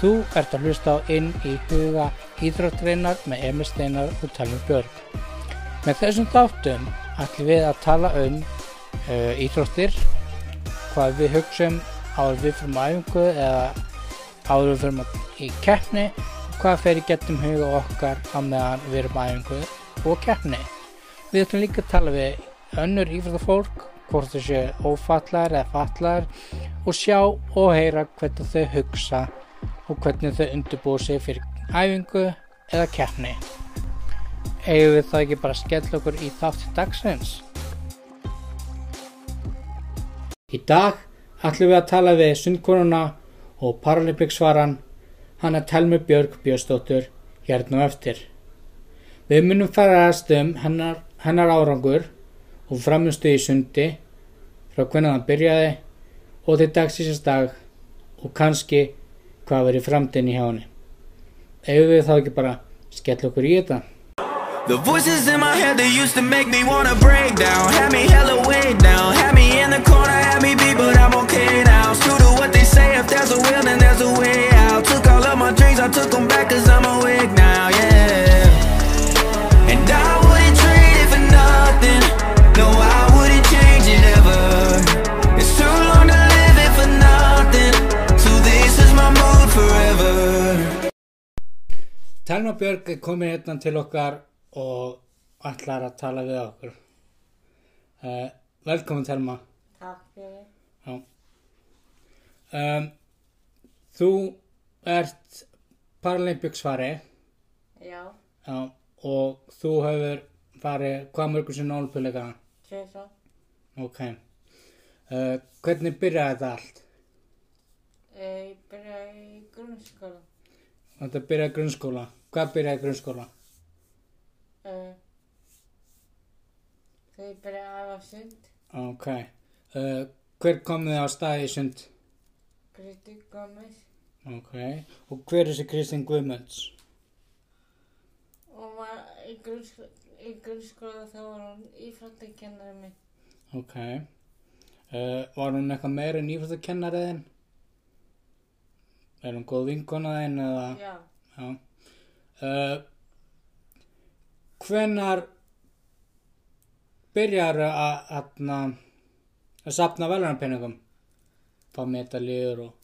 Þú ert að hlusta á inn í huga íþróttgreinar með Emil Steinar og Talmur Björg. Með þessum þáttum ætlum við að tala um uh, íþróttir, hvað við hugsum áður við fyrir mæfingu eða áður við fyrir í keppni, hvað fer í getum huga okkar á meðan við erum mæfingu og keppni. Við ætlum líka að tala við önnur íþróttafólk, hvort þau séu ófallar eða fallar og sjá og heyra hvernig þau hugsa og hvernig þau undirbúið sig fyrir æfingu eða keppni. Eigum við það ekki bara að skella okkur í þátti dagsins? Í dag ætlum við að tala við sundkonuna og paralympiksvaran hann að telmi Björg Björnsdóttur hérna og eftir. Við munum ferðast um hennar, hennar árangur og framistu í sundi frá hvernig hann byrjaði og til dagsins dag og kannski hvað verið framtíðin í hjá henni. Ef við þá ekki bara skell okkur í þetta. The voices in my head that used to make me wanna break down Had me hella way down Had me in the corner, had me beat, but I'm okay now True to what they say, if there's a will, then there's a way out Took all of my dreams, I took them back cause I'm awake now, yeah And I wouldn't trade it for nothing No, I wouldn't change it ever It's too long to live it for nothing So this is my mood forever Telma Björg er komin hérna til okkar og ætlar að tala við okkur. Uh, velkomin Telma. Takk fyrir. Já. Um, þú ert Paralympicsvari Já, já, og þú hefur farið hvað mörgum sinni ólpulleika. tvisvar. Ok. Uh, hvernig byrjaði þetta allt? Eh, Ég byrjaði í grunnskóla. Þetta byrjaði í grunnskóla. Hvað byrjaði í grunnskóla? Eh, Þegar ég byrjaði að æfa sund, Ok. Uh, hver kom þið á staði í sund? Kristi Gómez, Ok. Og hver er þessi Kristinn Guðmunds? og var í, grunnskóla, í grunnskóla þá var hún ífráttakennari minn. Ok. Uh, var hún eitthvað meira en ífættakennariðin? Er hún góð vinkonaðin eða? Já, Já. Uh, hvenar byrjar að að, að sapna velunarpenningum? Fá metaliður og...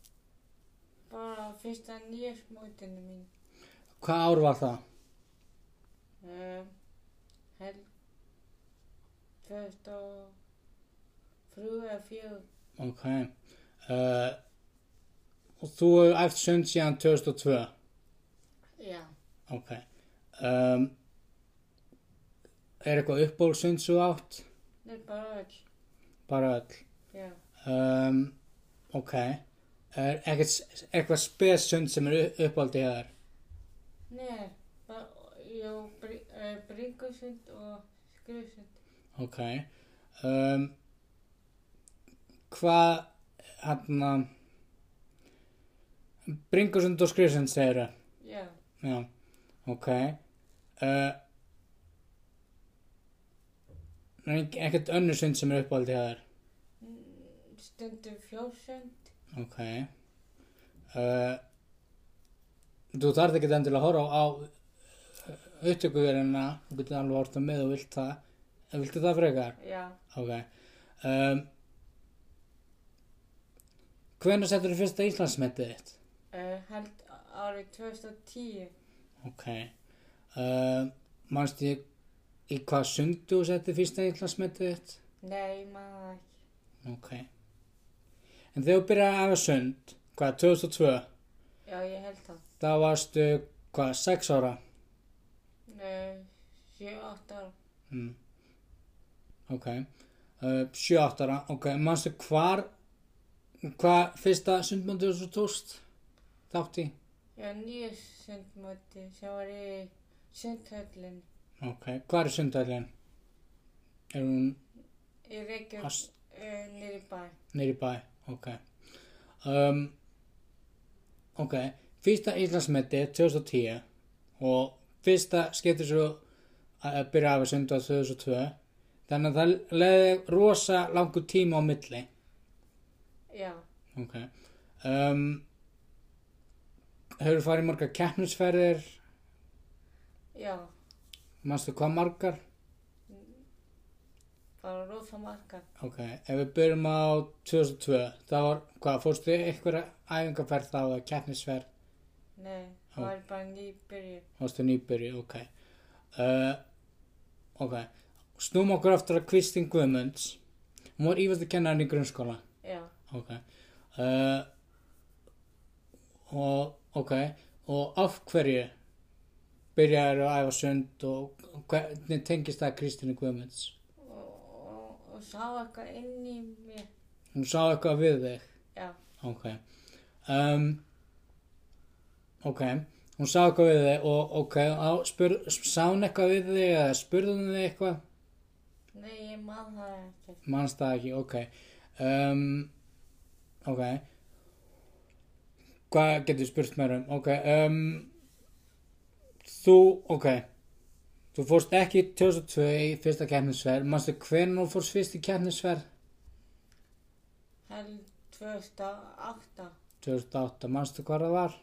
bara á fyrsta nýjarsmótinu mín. Hvað ár var það? Eh, Held 2003 eða 4. Ok. Uh, og þú hefur æft sund síðan 2002. Já, Ok. Um, er eitthvað uppbólsund svo átt? það er bara öll. Bara öll. Já, Um, ok. Er ekkert, eitthvað spesund sem er upp- uppáldið hjá þér? neða, bara, já, bringusund og skrifsund. Ok. Um, hvað, hérna, bringusund og skrifsund segir þau? Já, Já, ok. Uh, er ek- ekkert önnur sund sem er uppáldið að þér? stundum fjórsönd. Ok. Uh, þú þarf ekki endilega að horfa á upptökuverðina, þú getur alveg að horfa með og vilt það. Eh, Viltu það frekar? Já, Ok. Um, hvenær settur þú fyrsta Íslandsmetið þitt? uh, held árið 2010. Ok. Uh, manst ég í hvað sundu þú settir fyrsta Íslandsmetið þitt? Nei, maður það ekki. Ok. En þegar þú byrjaði að hafa sund, hvað, 2002, Já, ég held það. þá varstu, hvað, 6 ára? Nei, 7-8 ára. Mm. Ok. Uh, 7-8 ára, ok. Manstu hvar, hvað fyrsta sundmöndu þú tókst þátt í? Já, nýja sundmóti sem var í sundhöllin Ok. Hvar er sundhællin? Er hún í Reykjavík As- uh, nýri bæ. nýri bæ? Ok. Um, ok. Fyrsta Íslandsmeti 2010 og fyrsta skiptir svo að að byrja að hafa sund á 2002 þannig að það leiði rosa langu tíma á milli Já, ok um, Hefur farið margar keppnisferðir, Já, manstu hvað margar? bara rosa margar. Ok, ef við byrjum á 2002, það var, hvað, fórstu einhverja æfingarferð þá að keppnisferð, Nei, það var bara nýbyrjun. fórstu nýbyrju, ok. Uh, ok, snúm okkur aftur að Kristín Guðmunds, hún var ífættu kennarinn í grunnskóla. Já, Ok. Uh, og, ok, og af hverju byrjaður að æfa sund og hvernig tengist það Kristínu Guðmunds? og, og, og sá eitthvað inn í mér. Hún sá eitthvað við þig. Já, Ok. Um, ok, hún sá eitthvað við þig og ok, á, spyr, sá hún eitthvað við þig eða spurði hún þig eitthvað? nei, ég man það ekkert. Manst það ekki, ok. Um, ok. Hvað getur spurt mér um? Ok, um, þú, ok. Þú fórst ekki 2002 í fyrsta keppnisverð. Manstu hvernig þú fórst fyrst í keppnisverð? Held 2008. 2008, manstu hvað það var?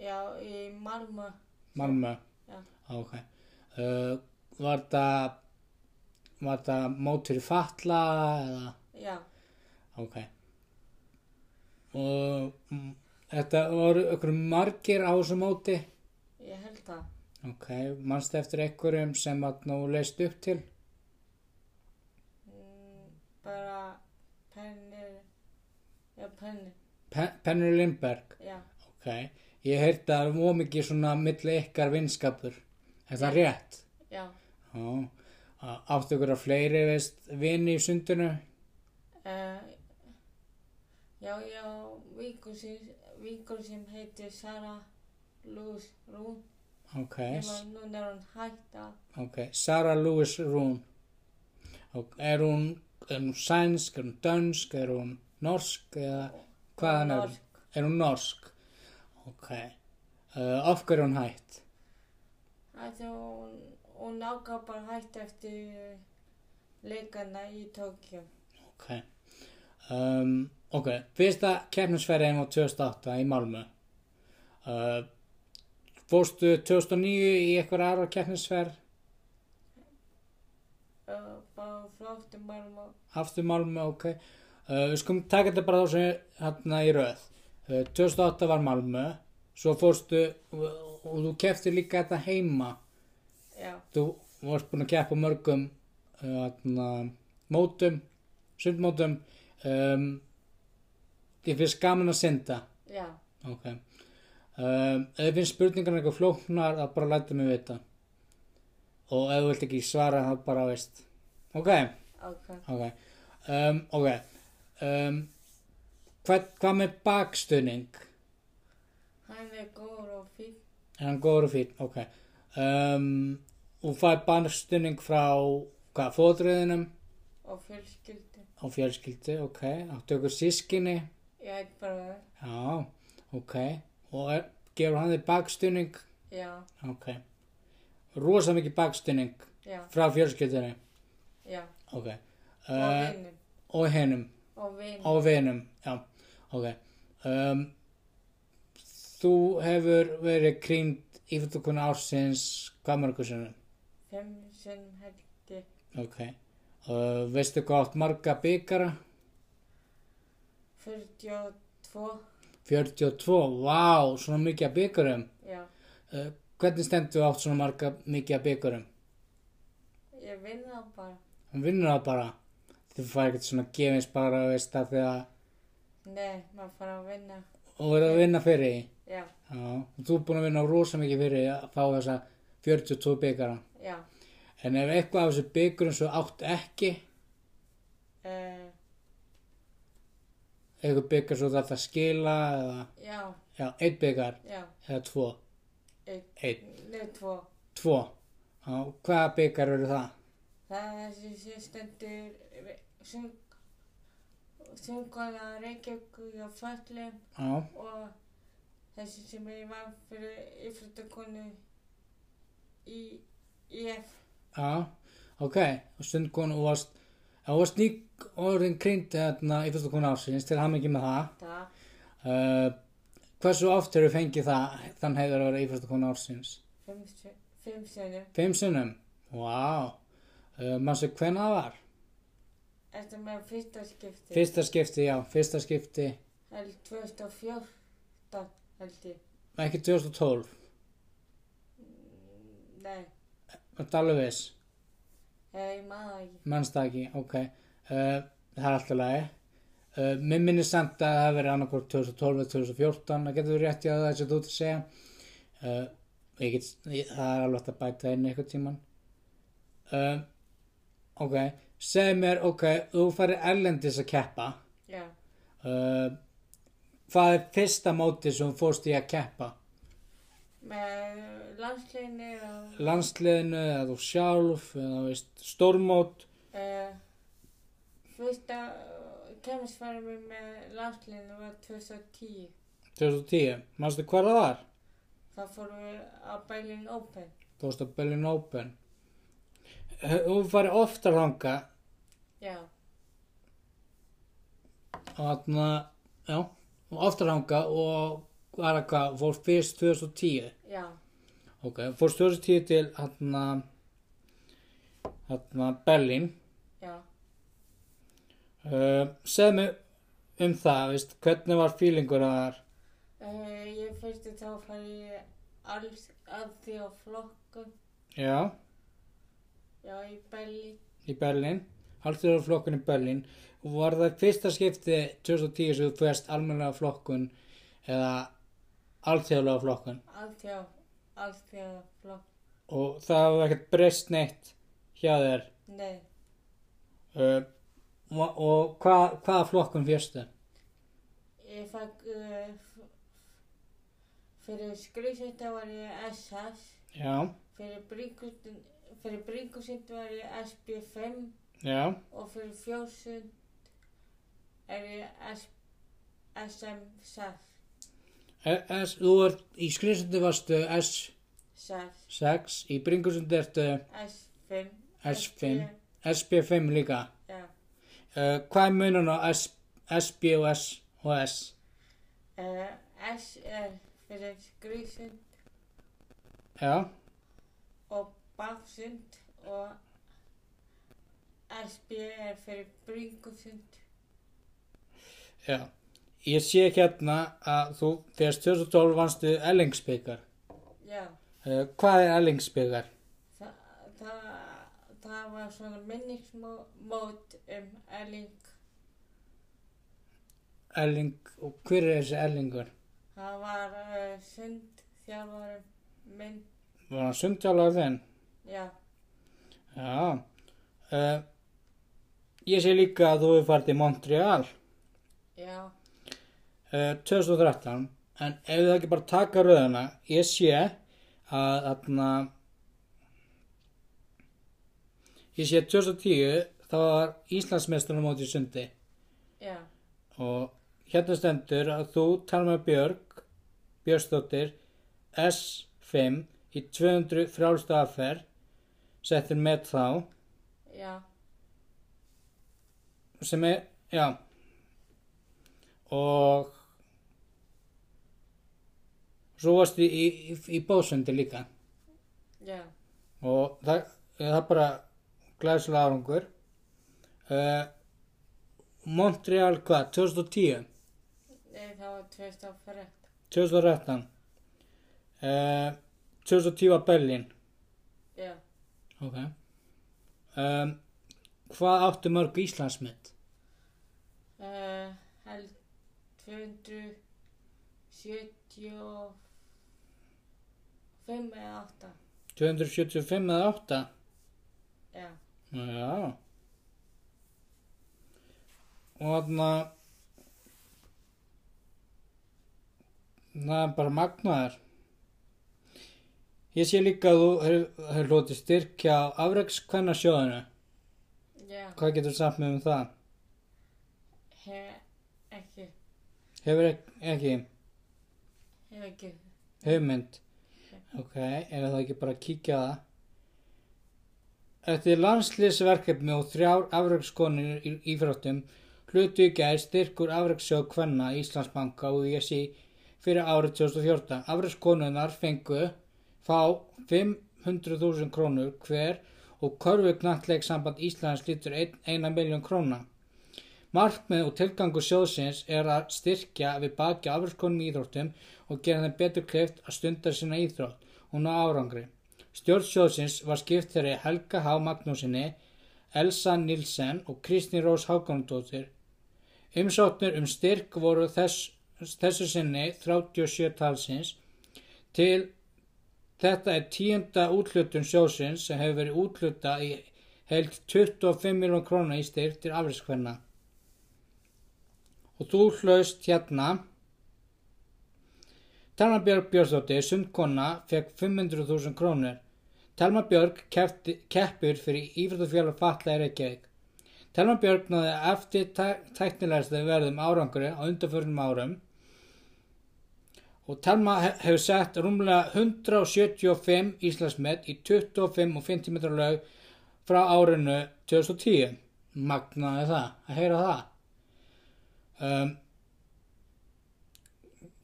Já, í Malmö. Malmö? Já. Ok. Uh, var það, var það mótur í fatla eða? Já, Ok. Og mm, þetta voru okkur margir á þessu móti. ég held það. Ok, manstu eftir einhverjum sem að nú leist upp til? Mm, bara pennir. Já, pennir. Pen Pennur Lindberg. Já, Ok, ég heyrti að það var mikið svona milli ykkar vinskapur. Er það rétt? já. Já. Á- Áttu ykkur að fleiri, veist, vini í sundinu? Uh, já, já, vingur sem, vingur sem heitir Sara Luz Rún. Ok, Yes. Núna er hún hætt að, ok. Sarah Lewis Rún. Ok, er hún, er hún sænsk, er hún dönsk, er hún norsk eða hvaðan er hún? Norsk. Er hún norsk? Ok. Uh, af hverju er hún hætt? að hún, hún ákvað bara hætt eftir leikana í Tókjum. Ok. Um, ok, fyrsta keppnisferðin var 2008 í Malmö. Uh, fórstu 2009 í eitthvað aðra keppnisferð Uh, bara flótti Malmö. aftur Malmö, ok. Uh, við skum taka þetta bara þá sem hérna í röð. Uh, 2008 var Malmö, svo fórstu og, og þú keppti líka þetta heima. Já, Þú varst búin að keppa á mörgum uh, hérna, mótum, sundmótum. Um, ég finnst gaman að synda. já, Ok. Um, ef þið finnst spurningarna eitthvað flóknar þá bara læta mig vita. Og ef þú vilt ekki svara þá bara veist. Ok, ok. ok. Um, ok. Um, hvað, hvað með bakstuðning? Hann er góður og fín. Er hann góður og fín? Ok. Um, og fær bakstuðning frá hvað, fóðröðinum og fjölskyldu. og fjölskyldu, ok. Áttu ykkur sískinni? Ég er bara, Já, ok. Og er, gefur hann þið bakstuðning? já, Ok. Rosa mikið bakstuðning já, frá fjölskyldunni. já, Ok. og Uh, vinnum, og hennum. og vinnum. Og vinum. Já. Ok. Um, þú hefur verið krýnd ífjöldukuna ársins hvað mörgur sinnum? Fimm sem helgi, Ok. Uh, veistu hvað átt marga byggara? 42, 42. Vá, svona mikið að byggarum. já. Uh, hvernig stendur þú átt svona marga mikið að byggarum? Ég vinn það bara. Hann vinnur það bara. Þú fær ekkert svona gefins bara, veist það, þegar Nei, maður fara að vinna. og verður að vinna fyrir því. Já, Já, og þú er búin að vinna rosa mikið fyrir að fá þessa 42 byggara. já. En ef eitthvað af þessu byggurum svo átt ekki, Uh, eitthvað byggar svo þarf það að skila eða, já, já, einn byggar já. eða tvo, Eitt, einn, nei, tvo. tvo. Já, hvaða byggar eru það? Það er þessi sérstendur sungkona Reykjavík hjá Föllum Já, og þessi sem ég vann fyrir yfirleitakonu í IF. já, ok, og stundkon og varst, já, og varst ný orðin krynd þarna í fyrstu konu ársins til hann ekki með það. Það, Uh, Hversu oft hefur fengið það, þann hefur að vera íþróttu konu ársins? Fimm si- Fimm sinni. Fimm sinnum? Vá, uh, mannstu hvenna það var? Þetta er með fyrsta skipti. Fyrsta skipti, já, fyrsta skipti, Það er 2014 held ég. ekki 2012, Nei, þetta alveg viss, eða ég maður það ekki. mannst það ekki, ok, uh, það er alltaf lagi. Uh, mér minnir samt að það hafi verið annarkvort 2012 eða 2014, það getur verið rétt í að það sem þú ert að segja. Uh, ég get, ég, það er alveg hægt að bæta inn eitthvað tíman. Uh, ok, segð mér, ok, þú farir erlendis að keppa. Já, Uh, hvað er fyrsta mótið sem þú fórst í að keppa? með landsleginni og Landsliðinu eða þú sjálf eða þú veist, stórmót uh, fyrsta kemmisfæri mér með landsleginni var 2010. 2010. Manstu hver það var? Þá fórum við á Berlin Open. Þú veist að Berlin Open. Uh, Þú farið oftar þanga Já, og þarna, já, oftar þanga og var að hvað, fór fyrst 2010. já, Ok, fór 2010 til þarna, þarna Berlin. já. Uh, segð mér um það, veist, hvernig var feelingur að það er? Uh, ég fyrstu þá færi ég alls að því á flokkum. Já. Já, í Berlin. í Berlín, alþjóðlega flokkun í Berlín og var það fyrsta skipti 2010 sem þú fyrst almennilega flokkun eða alþjóðlega flokkun Að því á, að því á flokk. og það hafði ekkert breyst neitt hjá þér Nei, uh, og, og hva, hvaða flokkun fyrstu? ég fæk uh, f- fyrir skrýsetta var ég SS. Já, Fyrir bringusund, fyrir bringusund var ég SB5 já, og fyrir fjósund er ég S, SM6. E- S, þú ert í skrifstundi varstu SAS, S6 í bringusundi ertu S5. S5 SB5 líka Já. uh, hvað er munun á S, SB og S og S? Uh, S er fyrir skrýsund Já, og baksund og SB er fyrir bringusund. Já, ég sé hérna að þú, þegar 2012 vannstu Ellingsbyggar. Já, Uh, hvað er Ellingsbyggar? það, það, það var svona minnismót um Erling. Elling, og hver er þessi Ellingur? Það var uh, sund þjálfari minn, Var hann sundjálaður þinn? já, Já. Uh, ég sé líka að þú hefur farið til Montreal já, uh, 2013, en ef það ekki bara taka röðuna, ég sé að þarna, ég sé 2010, það var Íslandsmeistunum móti í sundi. já, Og hérna stendur að þú, Talma Björg, Björnsdóttir, S5 í 200 frálstaðaferð, settir með þá, já, sem er, já, og svo varstu í, í, í bóðsundi líka. já, Og það, það er bara glæslega árangur. Uh, Montreal hvað, 2010? Nei, það var 2013, 2013 uh, 2010 var Berlín já, ok um, hvað áttu mörg Íslandsmet uh, held 275 eða 8, 275 eða 8 já, já og þarna það er bara magnaðar ég sé líka að þú hefur hef hlotið styrkja á afrekskvennasjóðinu já, hvað getur samt með um það hef ekki, hefur ek ekki hef ekki, Hugmynd. Ok, er það ekki bara að kíkja á það? Eftir landslýsverkefni og þrjár afrökskonir í ífráttum hlutu í gær styrkur afrökssjóð Kvenna, Íslandsbanka og ESI fyrir árið 2014. Afreyskonunnar fengu fá 500.000 krónur hver og körfugnattleik samband Íslands lítur 1 miljón króna. Markmið og tilgangu sjóðsins er að styrkja við baki afreyskonum íþróttum og gera þeim betur kleift að stunda sína íþrótt og ná árangri. Stjórn sjóðsins var skipt þeirri Helga H. Magnúsinni, Elsa Nilsen og Kristi Rós Hákonundóttir. Umsóknir um styrk voru þess, þessu sinni 37 talsins til þetta er tíunda útlutun sjóðsins sem hefur verið útluta í heilt 25 miljón króna í styrk til afriskvenna. Og þú hlaust hérna Telma Björg Björnsdóttir, sundkonna, fekk 500.000 krónur. Telma Björg kefti, keppir fyrir Ífræðufélag Fatla í Reykjavík. Telma Björg náði eftir tæ- tæknilegstu verðum árangri á undanförnum árum og Telma he- hefur sett rúmlega 175 Íslandsmet í 25 og 50 metra lög frá árinu 2010. Magnaði það, að heyra það. Um,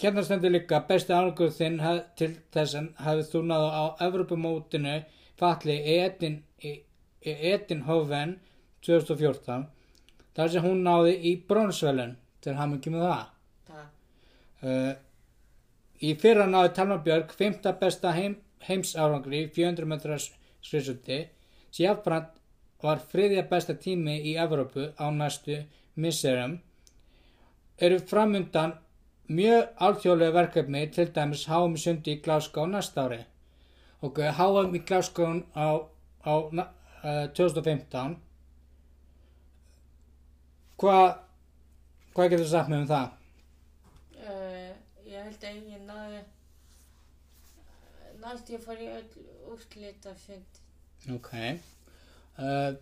Hérna stendur líka besti árangur þinn hef, til þess en hafið þú náðu á Evropamótinu falli í Edin, E- í, í Edinhofen 2014 þar sem hún náði í bronsvelun til hann ekki með það. Takk. Uh, í fyrra náði Telma Björg 5. besta heim, heimsárangri í 400 metra skrisundi sem jafnframt var friðja besta tími í Evrópu á næstu misserum eru framundan mjög alþjóðlega verkefni til dæmis HM í sundi í Glasgow næsta ári ok, HM í Glasgow á, á na- eh, 2015 hvað hvað getur sagt mér um það? Uh, ég held að ég náði næst ég fór í öll úrslitafund Ok. Uh,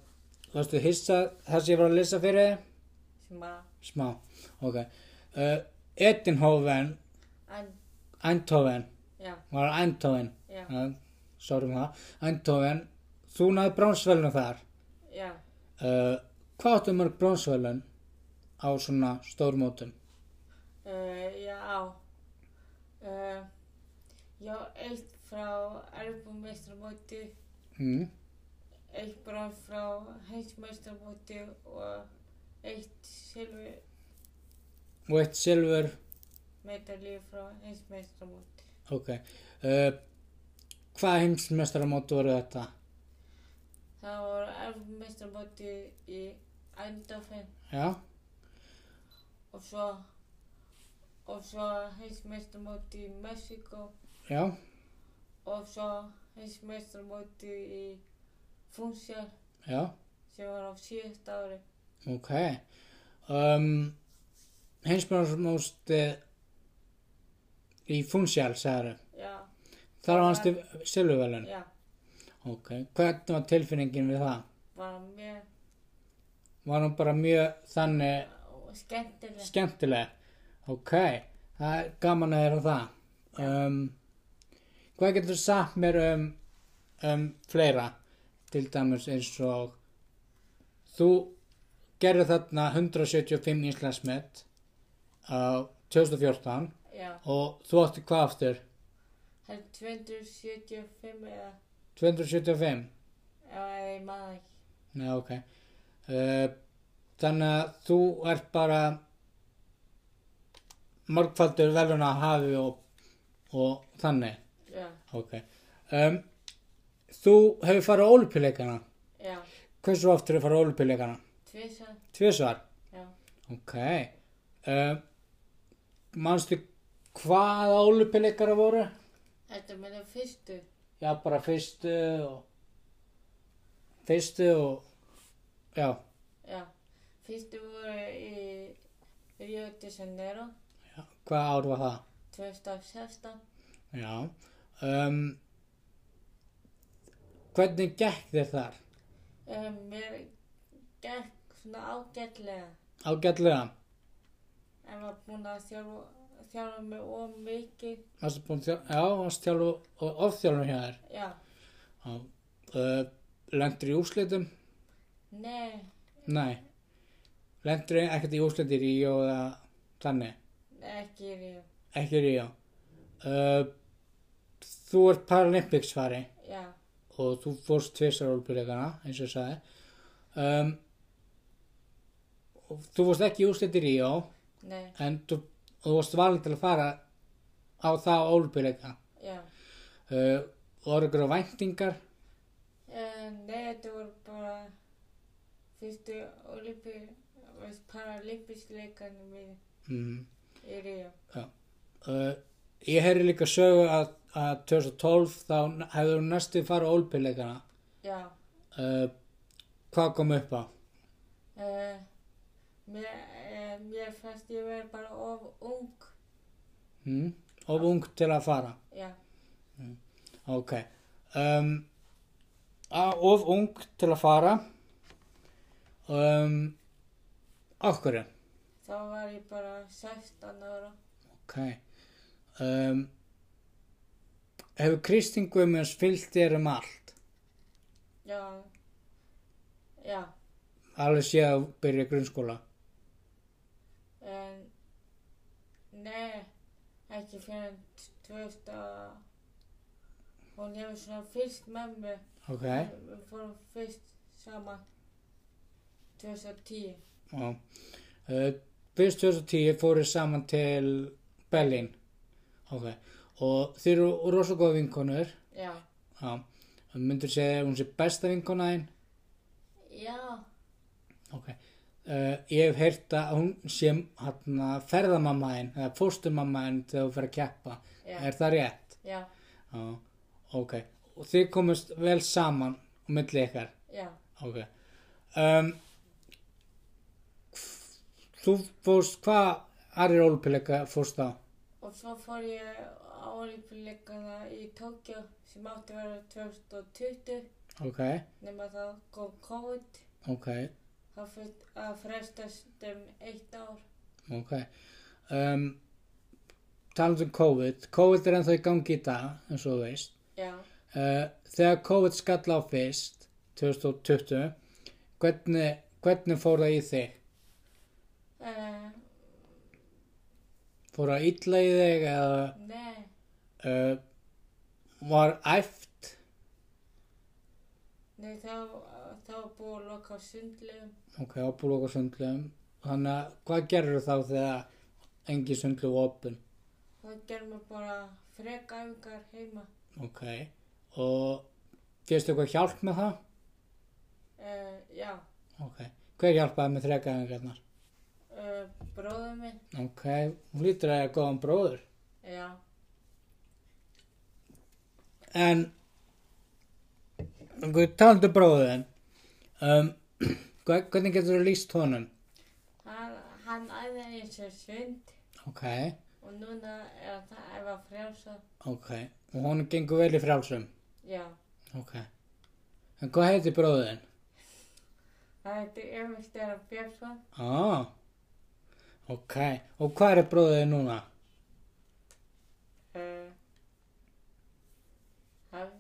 varstu hissa það sem ég var að lesa fyrir þér? sem að Smá. Ok. Uh, Edinhoven, en, Eindhoven, já, var það Eindhoven. já, Uh, sorry um það. Eindhoven, þú náði brónsvelunum þar. já Uh, hvað áttu mörg brónsvelun á svona stórmótum? uh, já á uh, já, eitt frá erfumestramóti Mm. eitt bara frá heimsmestramóti og eitt silvi Og eitt silfur, medalíu frá heimsmestramóti ok. Uh, hvað heimsmestaramótu voru þetta? það voru erfumestramóti í Eindhoven Já, og svo og svo heimsmeistarmóti í Mexíkó já, og svo heimsmeistarmóti í Funchal já. sem var á síðasta ári Ok. Um, Heimsbjörnsmósti í Funchal, sagður. já, Þar var hans silfurvelun. já, Ok. Hvernig var tilfinningin við það? var mjög Var hún bara mjög þannig og skemmtileg skemmtileg? Ok. Það er gaman að vera það. Um, hvað getur sagt mér um, um fleira? Til dæmis eins og þú gerði þarna 175 íslensmet á 2014 já, og þú átti hvað aftur? það er 275 eða 275? eða ég maður ekki Nei, ok. Uh, þannig að þú ert bara margfaldur velun að hafi og, og þannig. já, Ok. Um, þú hefur farið á olupilleikana. já, Hversu oft hefur farið á olupilleikana? tvisan Tvisvar. já, Ok. Uh, manstu hvaða olupilleikara voru? þetta með það fyrstu Já, bara fyrstu og fyrstu og já, já, fyrstu voru í Rio de Janeiro já hvað ár var það? 2016 Já. Um, hvernig gekk þér þar? Um, mér gekk svona ágætlega. Ágætlega. Ég var búin að þjálfa, þjálfa mig of mikið. Varstu búin þjál... Já, varstu þjálfu og ofþjálfu hjá þér. Já, Já. Uh, lendur í úrslitum? nei, Nei. Lendur ekkert í úrslitir í og þannig? ekki í ríu. ekki Ríó uh, þú ert Paralympics fari já, og þú fórst tvisar olbyrleikana eins og ég sagði um, og þú fórst ekki úrslit í Ríó nei, en þú, þú varst valin til að fara á það olbyrleika já. uh, voru ykkur á væntingar Uh, nei, þetta voru bara fyrstu olímpi, paralympisleikarnir mín mm, í Ríó. uh, ég heyri líka sögu að, að 2012 þá n- hefðu hún næstu fara á olbyrleikana Já, uh, hvað kom upp á uh, mér, uh, mér fannst ég verið bara of ung, mm, of ung til að fara já, Ok. Um, a- of ung til að fara. Um, okkur. þá var ég bara 16 ára. Ok. Um, hefur Kristín Guðmunds fyllt þér um allt? Já, já, Alveg sé að byrja í grunnskóla. en nei, ekki fyrir en 2000 og hún hefur svona fyrst með mér, Ok. við fórum fyrst saman 2010, Já. Uh, fyrst 2010 fóruð saman til Berlín. Ok. Og þið eru rosa góð vinkonur. já, Já. Myndur segja að hún sé besta vinkona þín? já, Ok. Uh, ég hef heyrt að hún sé hérna ferðamamma þinn eða fóstumamma þinn þegar þú fer að keppa. Já. Er það rétt? já, Já. Ok. Og þið komast vel saman á milli ykkar. já, Ok. Um, þú fórst, hvað aðrir ólupileika fórst á? og svo fór ég á olífleikana í Tókjó sem átti að vera 2020, Ok. nema þá kom COVID, Ok. það fyrir að frestast um eitt ár, Ok. Um, talandi um COVID. COVID er ennþá í gangi í dag, eins og þú veist. já, Eh, þegar COVID skall á fyrst 2020 hvernig, hvernig fór það í þig? uh, Fór það illa í þig eða nei, uh, var æft? Nei, þá, þá var búið að loka á sundlegum. Ok, ábúl okkur sundlum þannig að hvað gerður þá þegar engi sundlu var opinn? Þá gerum við bara frekæfingar heima. Ok, og fyrstu eitthvað hjálp með það? Uh, já, Ok, hver hjálpaði með þrekaðingarnar? uh, bróðum minn, Ok, hún lítur að ég er góðan bróður já, En Við talandu bróðin um, hve- Hvernig getur þú lýst honum? hann, hann æði eins og sund Ok, og núna er hann að æfa frjálsa. ok Og honum gengur vel í frjálsum Já, Ok En hvað heitir bróðin? það heitir Emil Steinar Björnsson, Ah Ok, og hvað er bróðin núna? uh, hann,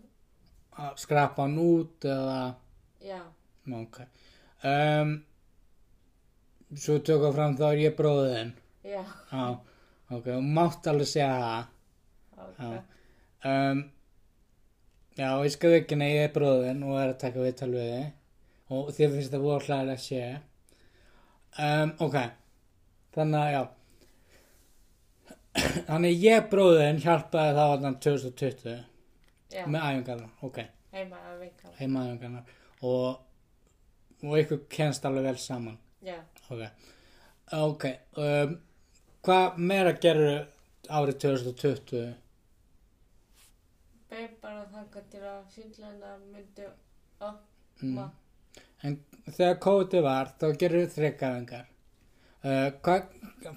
Að Skrapa hann út eða já, Ok um, Svo tökum við fram þá er ég bróðin já, Já, ok, og mátt alveg segja það ok, Já. Um, já, ég skal vikina, ég er bróðin og er að taka viðtal við þið og þér finnst það voru hlæðilega að sé um, ok þannig að já þannig að ég bróðin hjálpaði þá þannig 2020 já, með æfingarnar ok, heima að vinkala. heima æfingarnar og, og ykkur kennst alveg vel saman Já, ok, ok um, hvað meira gerðu árið 2020 bein bara þangað til að sundleguna myndi Mm. opna. En þegar kóti var, þá gerur þreikaðingar. Uh, hvað,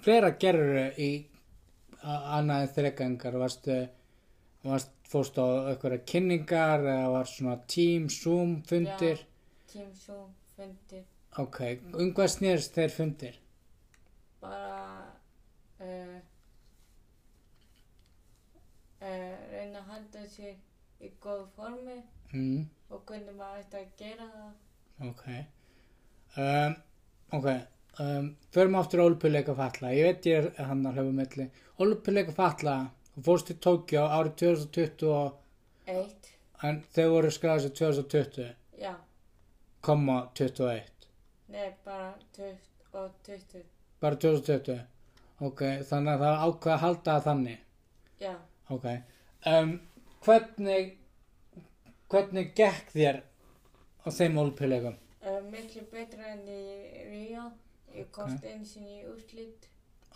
flera gerur í a- annað en þreikaðingar? Varstu, varst, fórstu á einhverja kynningar eða var svona team, zoom, fundir? Tímsum, fundir, Ok, um hvað snýrst þeir fundir? bara uh, uh, reyna að halda sér í góðu formi Mm, og hvernig maður ætti að gera það. Ehm, ok. Um, ok, um, förum aftur á olimpíuleika fatla ég veit ég er hann að hlöfu milli olimpíuleika fatla þú fórst til Tókjó árið 2020 og- Eitt. en þau voru skráðið sér 2020 Já. komma 21 Nei, bara 20 og 20. bara 2020 ok, þannig að það er ákveð að halda það þannig Já. ok um, hvernig hvernig gekk þér á þeim olimpíuleikum Uh, miklu betra enn í Rio. Ég komst einu sinni í úrslit.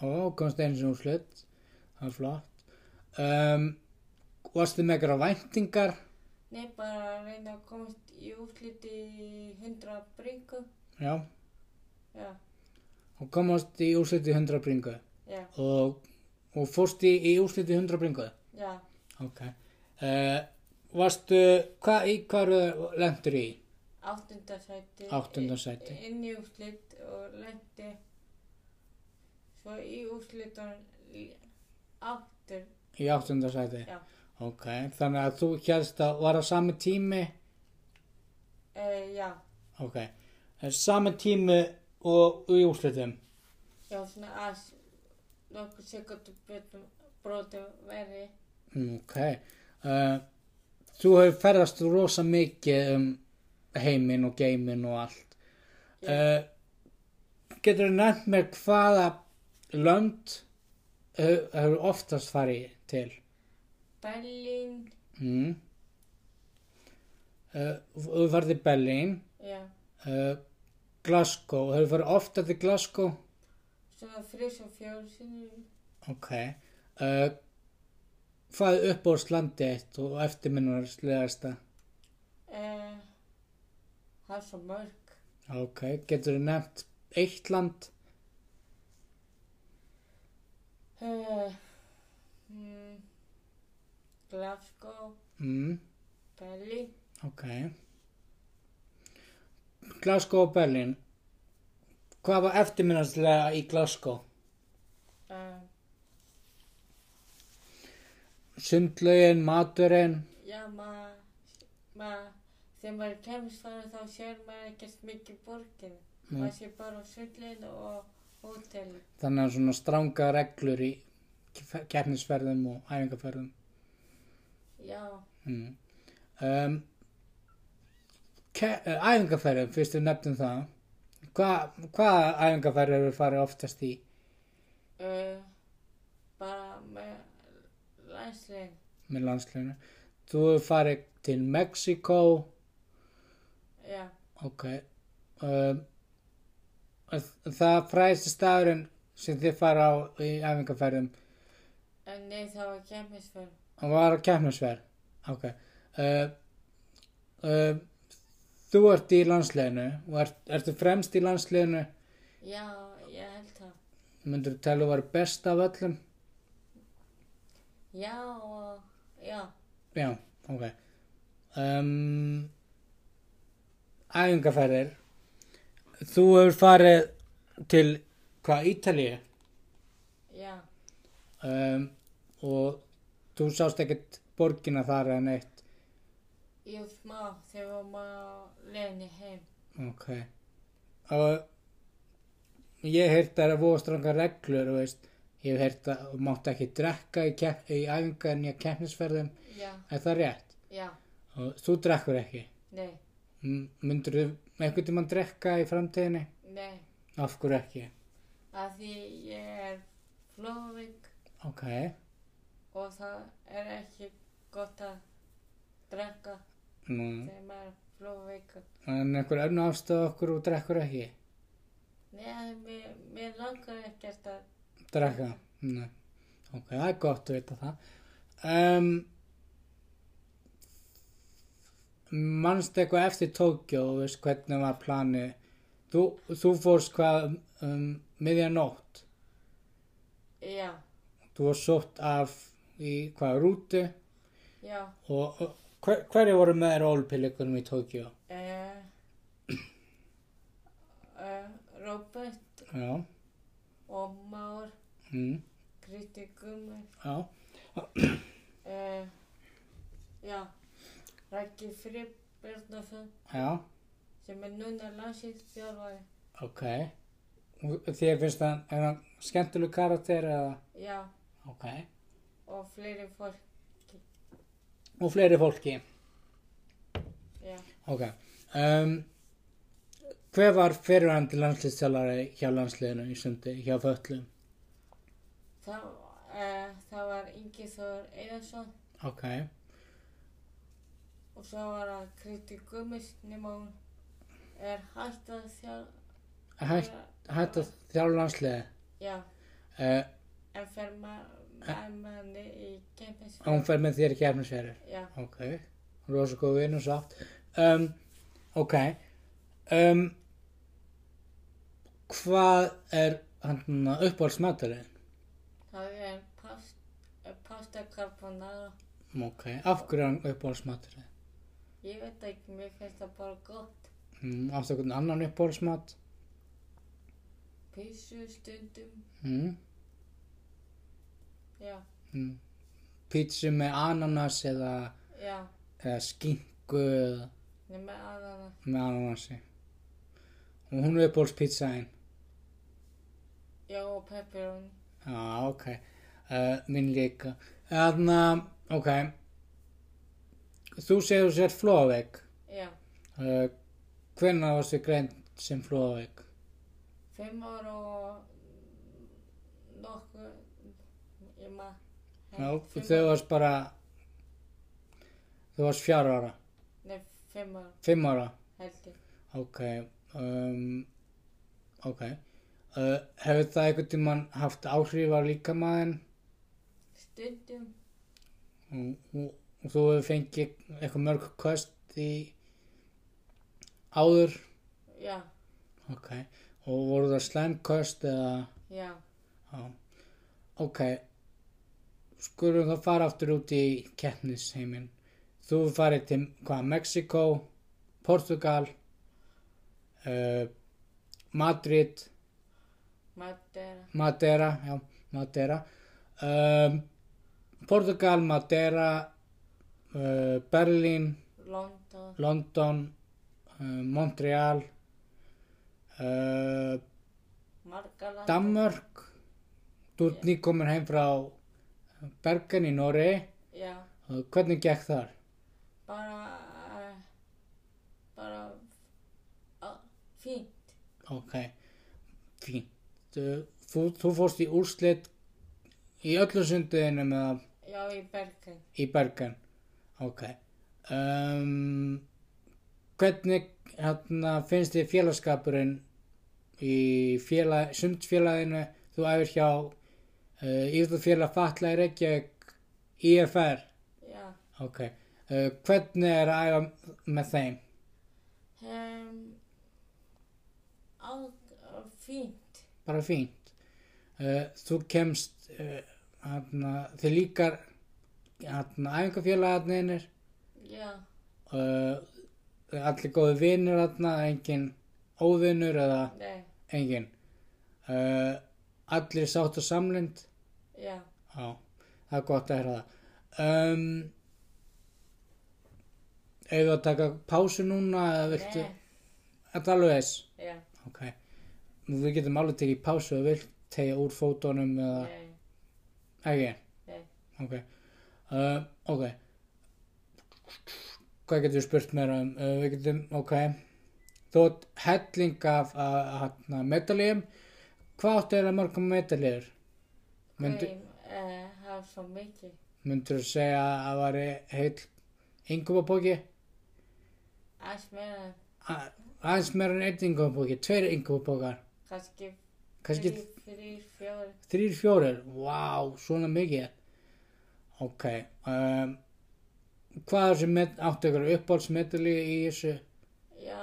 Ó, komst einu sinni úr slutt. Það er flott. Um, varst þið með eitthvað væntingar? Nei, bara að reyna að komast í úrslit í 100 bringu. Já. Já. Og komast í úrsliti 100 bringu. Já. Og, og fórst í, í úrsliti 100 bringu. Já. Ok. Uh, varstu, hvað í hverju lendur í? Áttunda sæti. Áttunda sæti. I- Inn í úrslit og lendi. Svo í úrslitan í- aftur. Í áttunda sæti? Já. Ok, þannig að þú hérst að var á sami tími? Uh, já. Ok. Eh, Sami tími og, og í úrslitum? Já, svona að nokkur sekundu brotum, brotum verði. Ok. Uh, þú hefur ferðast rosa mikið um heiminn og geiminn og allt. Uh, getur þú nefnt mér hvaða lönd hefur hefur oftast farið til? Berlín, Mm. Uh, þú hefur farið til Berlín, já, uh, Glasgow, hefur farið ofta til Glasgow? svona þrís og fjóru sinnum. Ok. Uh, hvað er upp á slandi eitt og eftirminnulegasta? Uh, það er svo mörg. Ok, getur þú nefnt eitt land? Uh, mm, Glasgow, Mm, Berlín, ok. Glasgow og Berlin. Hvað var eftirminnastilega í Glasgow? uh, Sundlaugin, maturinn, já, maður, ma, þegar maður kemst fara þá sér maður ekkert mikið borgin. Maður sé bara á sundlegin og hótelin. þannig að svona stranga reglur í keppnisferðum og æfingarferðum. Já, Mm. Um, ke- eh, æfingarferðum, fyrst við nefnum það. Hva, hvaða æfingarferð hefur farið oftast í? uh, bara með læslegin. með landsleginu þú hefur farið til Mexiko Já, ok um, þ- það fræðist staðurinn sem þið fara á í æfingarferðum en nei það var kemmisferð. og var á kemnarsverð ok uh, uh, þú ert í landsleginu og ert, ertu fremst í landsleginu Já, ég held það. myndur þú tala að vera best af öllum Já og, já, já, ok um, æfingarferðir þú hefur farið til hvað, Ítalíu? já, um, og þú sást ekkert borgina þar en eitt ég var smá þegar maður leiðinni heim. ok og ég heyrt að það er voðstranga reglur þú veist, ég hef heyrt að þú mátt ekki drekka í, kepp, í æfingar nýja keppnisferðum Já, er það rétt já, og þú drekkur ekki nei, myndur þú einhvern tímann drekka í framtíðinni nei, af hverju ekki að því ég er flóðvík ok, og það er ekki gott að drekka nú þegar maður er flóðvíkur. en einhver önnu afstöð okkur og drekkur ekki Nei, að mér, mér langar ekkert að, Drekka, nei. Ok, það er gott að vita það. Um, manstu eitthvað eftir Tókjó, þú veist hvernig var planið? Þú, þú fórst hvað um, miðja nótt. já, Þú varst sótt af í hvað rútu já, og og hver, hverju voru með þér ólpillikunum í Tókjó? eh, eh, Robert Já, og Már, mm, Kristi Gummur, já, Eh, já, Rækki Fripp Bjarnason já, sem er núna landsins þjálfari ok. Og Þér finnst hann, er hann skemmtileg karakter eða, já, ok, og fleiri fólk, og fleiri fólki, já. ok. Um, hver var fyrirhandi landslýstjálari hjá landsliðinu í sundi, hjá föllum? Það, uh, það var Ingi Þór Einarsson Ok, og svo var það Kristi Gummis nema hún er hætt að þjálf... hætt hætt að þjálfa landsliði, Já, uh, en fer maður manni í kempins... hún fer með þér í kefnisverður. Já, Ok, rosa góð vinn og sátt. Um, ok, um, hvað er hann uppáhaldsmaturinn? það er past, eh, pasta carbonara. Ok, af hverju er hann uppáhaldsmaturinn? Ég veit ekki, mér finnst það bara gott. Mm, Áttu einhvern annan uppáhaldsmat? Písu stundum, Mm, já, mm. Pítsu með ananas eða, já, eða skinku nema aðana. með ananasi. Og hún er uppáhaldspítsaðinn. Já, og pepperoni. Já, ok. Uh, minn líka. Þannig, ok. Þú segir þú sér flóðveik. Já, Uh, hvenær varstu greint sem flóðveik? fimm ára og nokkuð, ég maður. Já, þau varst bara, þau varst fjár ára, Nei, fimm ára, fimm ára. held ég. Ok, um, ok. Uh, hefur það einhvern tímann haft áhrif á líkamæðin Stundum, og, og, og þú hefur fengið eitthvað mörg kvöst í áður? já, Ok, og voru það slæmköst eða, já, já, ok, skulum þá fara aftur út í keppnisheimin. Þú hefur farið til, hvað, Mexiko, Portugal, uh, Madrid, matera, Madeira, já, Madeira, um, Portugal, Madeira, uh, Berlín, London, London, uh, Montreal, uh, Margaland, Danmörk þú ert nýkomin heim frá Bergen í Nóri já, hvernig gekk þar? bara, uh, bara, uh, fínt, ok, fínt Uh, þú, þú fórst í úrslit í öllu sunduðinu með já, í Bergen, í Bergen ok um, hvernig hérna, finnst þið félagskapurinn í félag, sundfélaginu þú æfir hjá uh, Íþjóðfélag Fatla í Reykjavík IFR já, Ok, uh, hvernig er að æfa með þeim? um, á, uh, fínt, Bara fínt. Uh, þú kemst, uh, hana, þið líkar hana, æfingafélagarnir, já, uh, allir góði vinur hana, engin óvinur eða nei, engin. Uh, allir sátt og samlind, já, já, það er gott að hera það. Um, Eða að taka pásu núna eða viltu? nei, Þetta er alveg þess. já, Ok, við getum alveg tekið pásu og vilt tegja úr fótunum eða nei, ekki, nei, ok. Uh, ok, hvað getum við spurt meira um? Uh, við getum, ok, þú átt helling af uh, medaljum, hvað áttu eiginlega mörgum medaljur? Myndu, Nei, eh, það er svo mikið, myndur þú segja að það væri heil yngubabóki? aðeins meira, en Aðeins meira en einn yngubabóki, tveir yngubabókar, kannski, kannski þrír, þrír, fjórir, Þrýr, fjórir, vá, svona mikið. Ok, um, hvað er sem met, áttu ykkur uppáhaldsmedali í þessu? Já,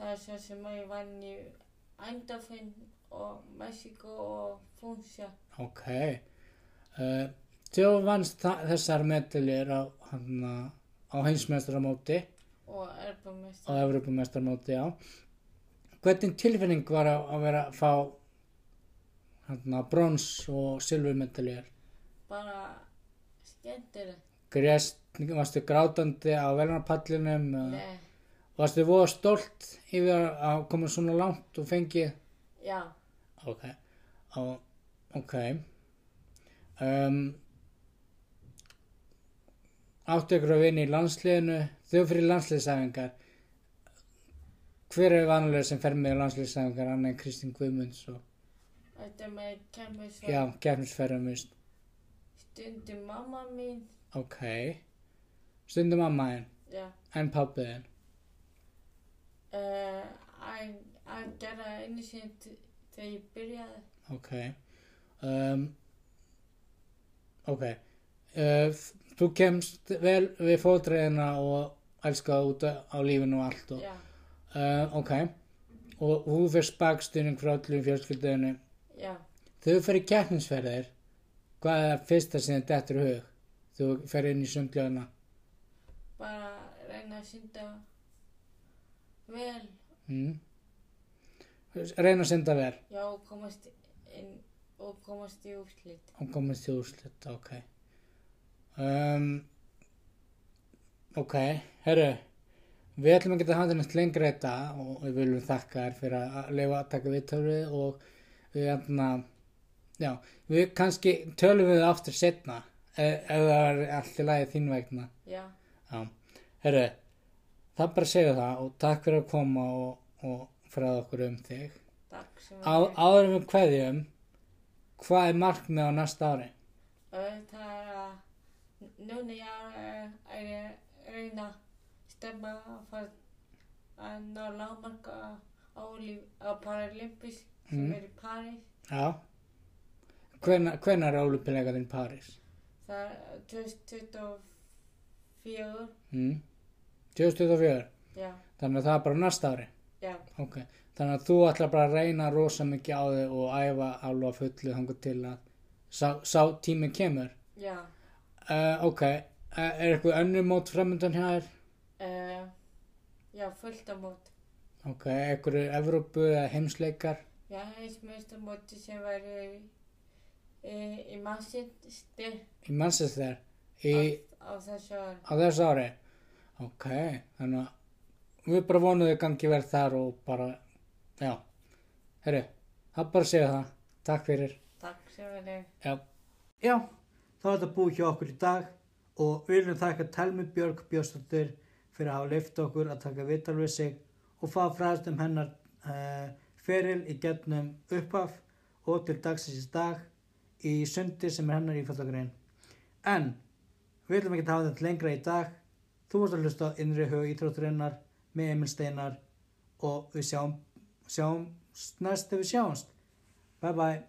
það er svo sem að ég vann í Eindhoven og Mexiko og Funcha. Ok, uh, þegar þú vannst þa- þessar medalir á, hann, á heimsmeistramóti og Erbamest. og Evrópumeistramóti, já. Hvernig tilfinning var að, að vera að fá hann, brons og silfurmedalir? Bara skemmtilegt. Grest, varstu grátandi á veljarnapallinum? Nei, Varstu voða stolt yfir að koma svona langt og fengið já, Ok, Ó, ok. Um, áttu ykkur að vinna í landsliðinu, þau fyrir landsliðsæfingar. Hver er vanlega sem fer með í landsliðsæfingar annar en Kristín Guðmunds og þetta með kemur já, gerðnisferðumist. stundum mamma mín, Ok, stundum mamma þinn já, en pabbi þinn. uh, að, að gera einu sinni t- þegar ég byrjaði, Ok, um, ok, uh, f- þú kemst vel við fótreiðina og elskaða út á lífinu og allt og já, Uh, ok, og þú fyrst bakstuðning frá öllum fjölskyldunum. já, Þegar þú fyrir keppnisferðir, hvað er það fyrsta sem þið dettur í hug? Þú fer inn í sundlöðina. bara reyna að synda vel, Mm. Reyna að senda vel já, og komast inn og komast í úrslit, og komast í úrslit, ok. Um, ok, herru, við ætlum að geta hafði næst lengra þetta og við viljum þakka þér fyrir að leifa að taka viðtöfrið og við hérna, já, við kannski tölum við það aftur setna ef, ef það var allt í lagi þín vegna. já, Já, herru, það er bara að segja það og takk fyrir að koma og, og fræða okkur um þig. takk sem Á, áður en við kveðjum, hvað er markmið á næsta ári? Ö, Það er að núna ég er að reyna að stemma að fara að ná lágmarka á, olí- á Paralympics sem Mm. er í París. Já. Hvenær hvenær er ólupilegaðin París? Það er 2024, Mm? 2004. já, Þannig að það er bara á næsta ári. já, Ok. Þannig að þú ætlar bara að reyna rosa mikið á þig og æfa alveg að fullu þangar til að sá, sá tími kemur. já. Uh, ok. Uh, er eitthvað önnur mót framöndan hjá þér? Uh, já, fullt á mót. Ok. Eitthvað er Evrópu eða heimsleikar? Já, heimsmeist á móti sem verður í, í, í massisti Í Manchester? Í, á þessu ári. á þessu ári? Ok. Þannig að við bara vonum þau gangi verð þar og bara, já. Herru, það er bara að segja það. Takk fyrir. Takk sem verður. Já. Já, þá er þetta búið hjá okkur í dag og við viljum þakka Telmi Björg Björnsdóttir fyrir að hafa leift okkur að taka vital við sig og fá fræðast um hennar uh, feril í getnum upphaf og til dagsins í dag í sundi sem er hennar ífællagrein. En við viljum ekki hafa þetta lengra í dag. Þú vorst að hlusta á innri hug íþrótturinnar með Emil Steinar og við sjáum, sjáum næst þegar við sjáumst. Bye bye.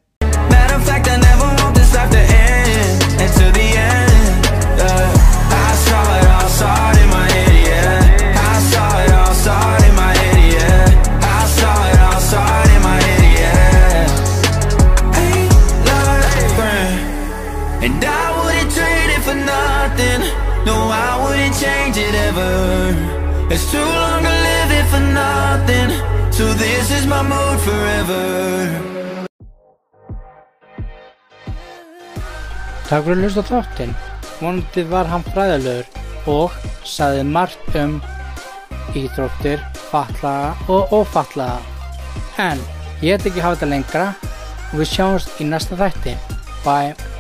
Matter of fact, I never want this life to end until the end. Yeah. I saw it all, saw it in my head, yeah. I saw it all, saw it in my head, yeah. I saw it all, saw it in my head, yeah. Ain't life grand. And I wouldn't trade it for nothing. No, I wouldn't change it ever. It's too long to live it for nothing. So this is my mood forever. Takk fyrir að hlusta á þáttinn. Vonandi var hann fræðilegur og saði margt um íþróttir, fatlaða og ófatlaða. En ég ætla ekki að hafa þetta lengra og við sjáumst í næsta þætti. Bye!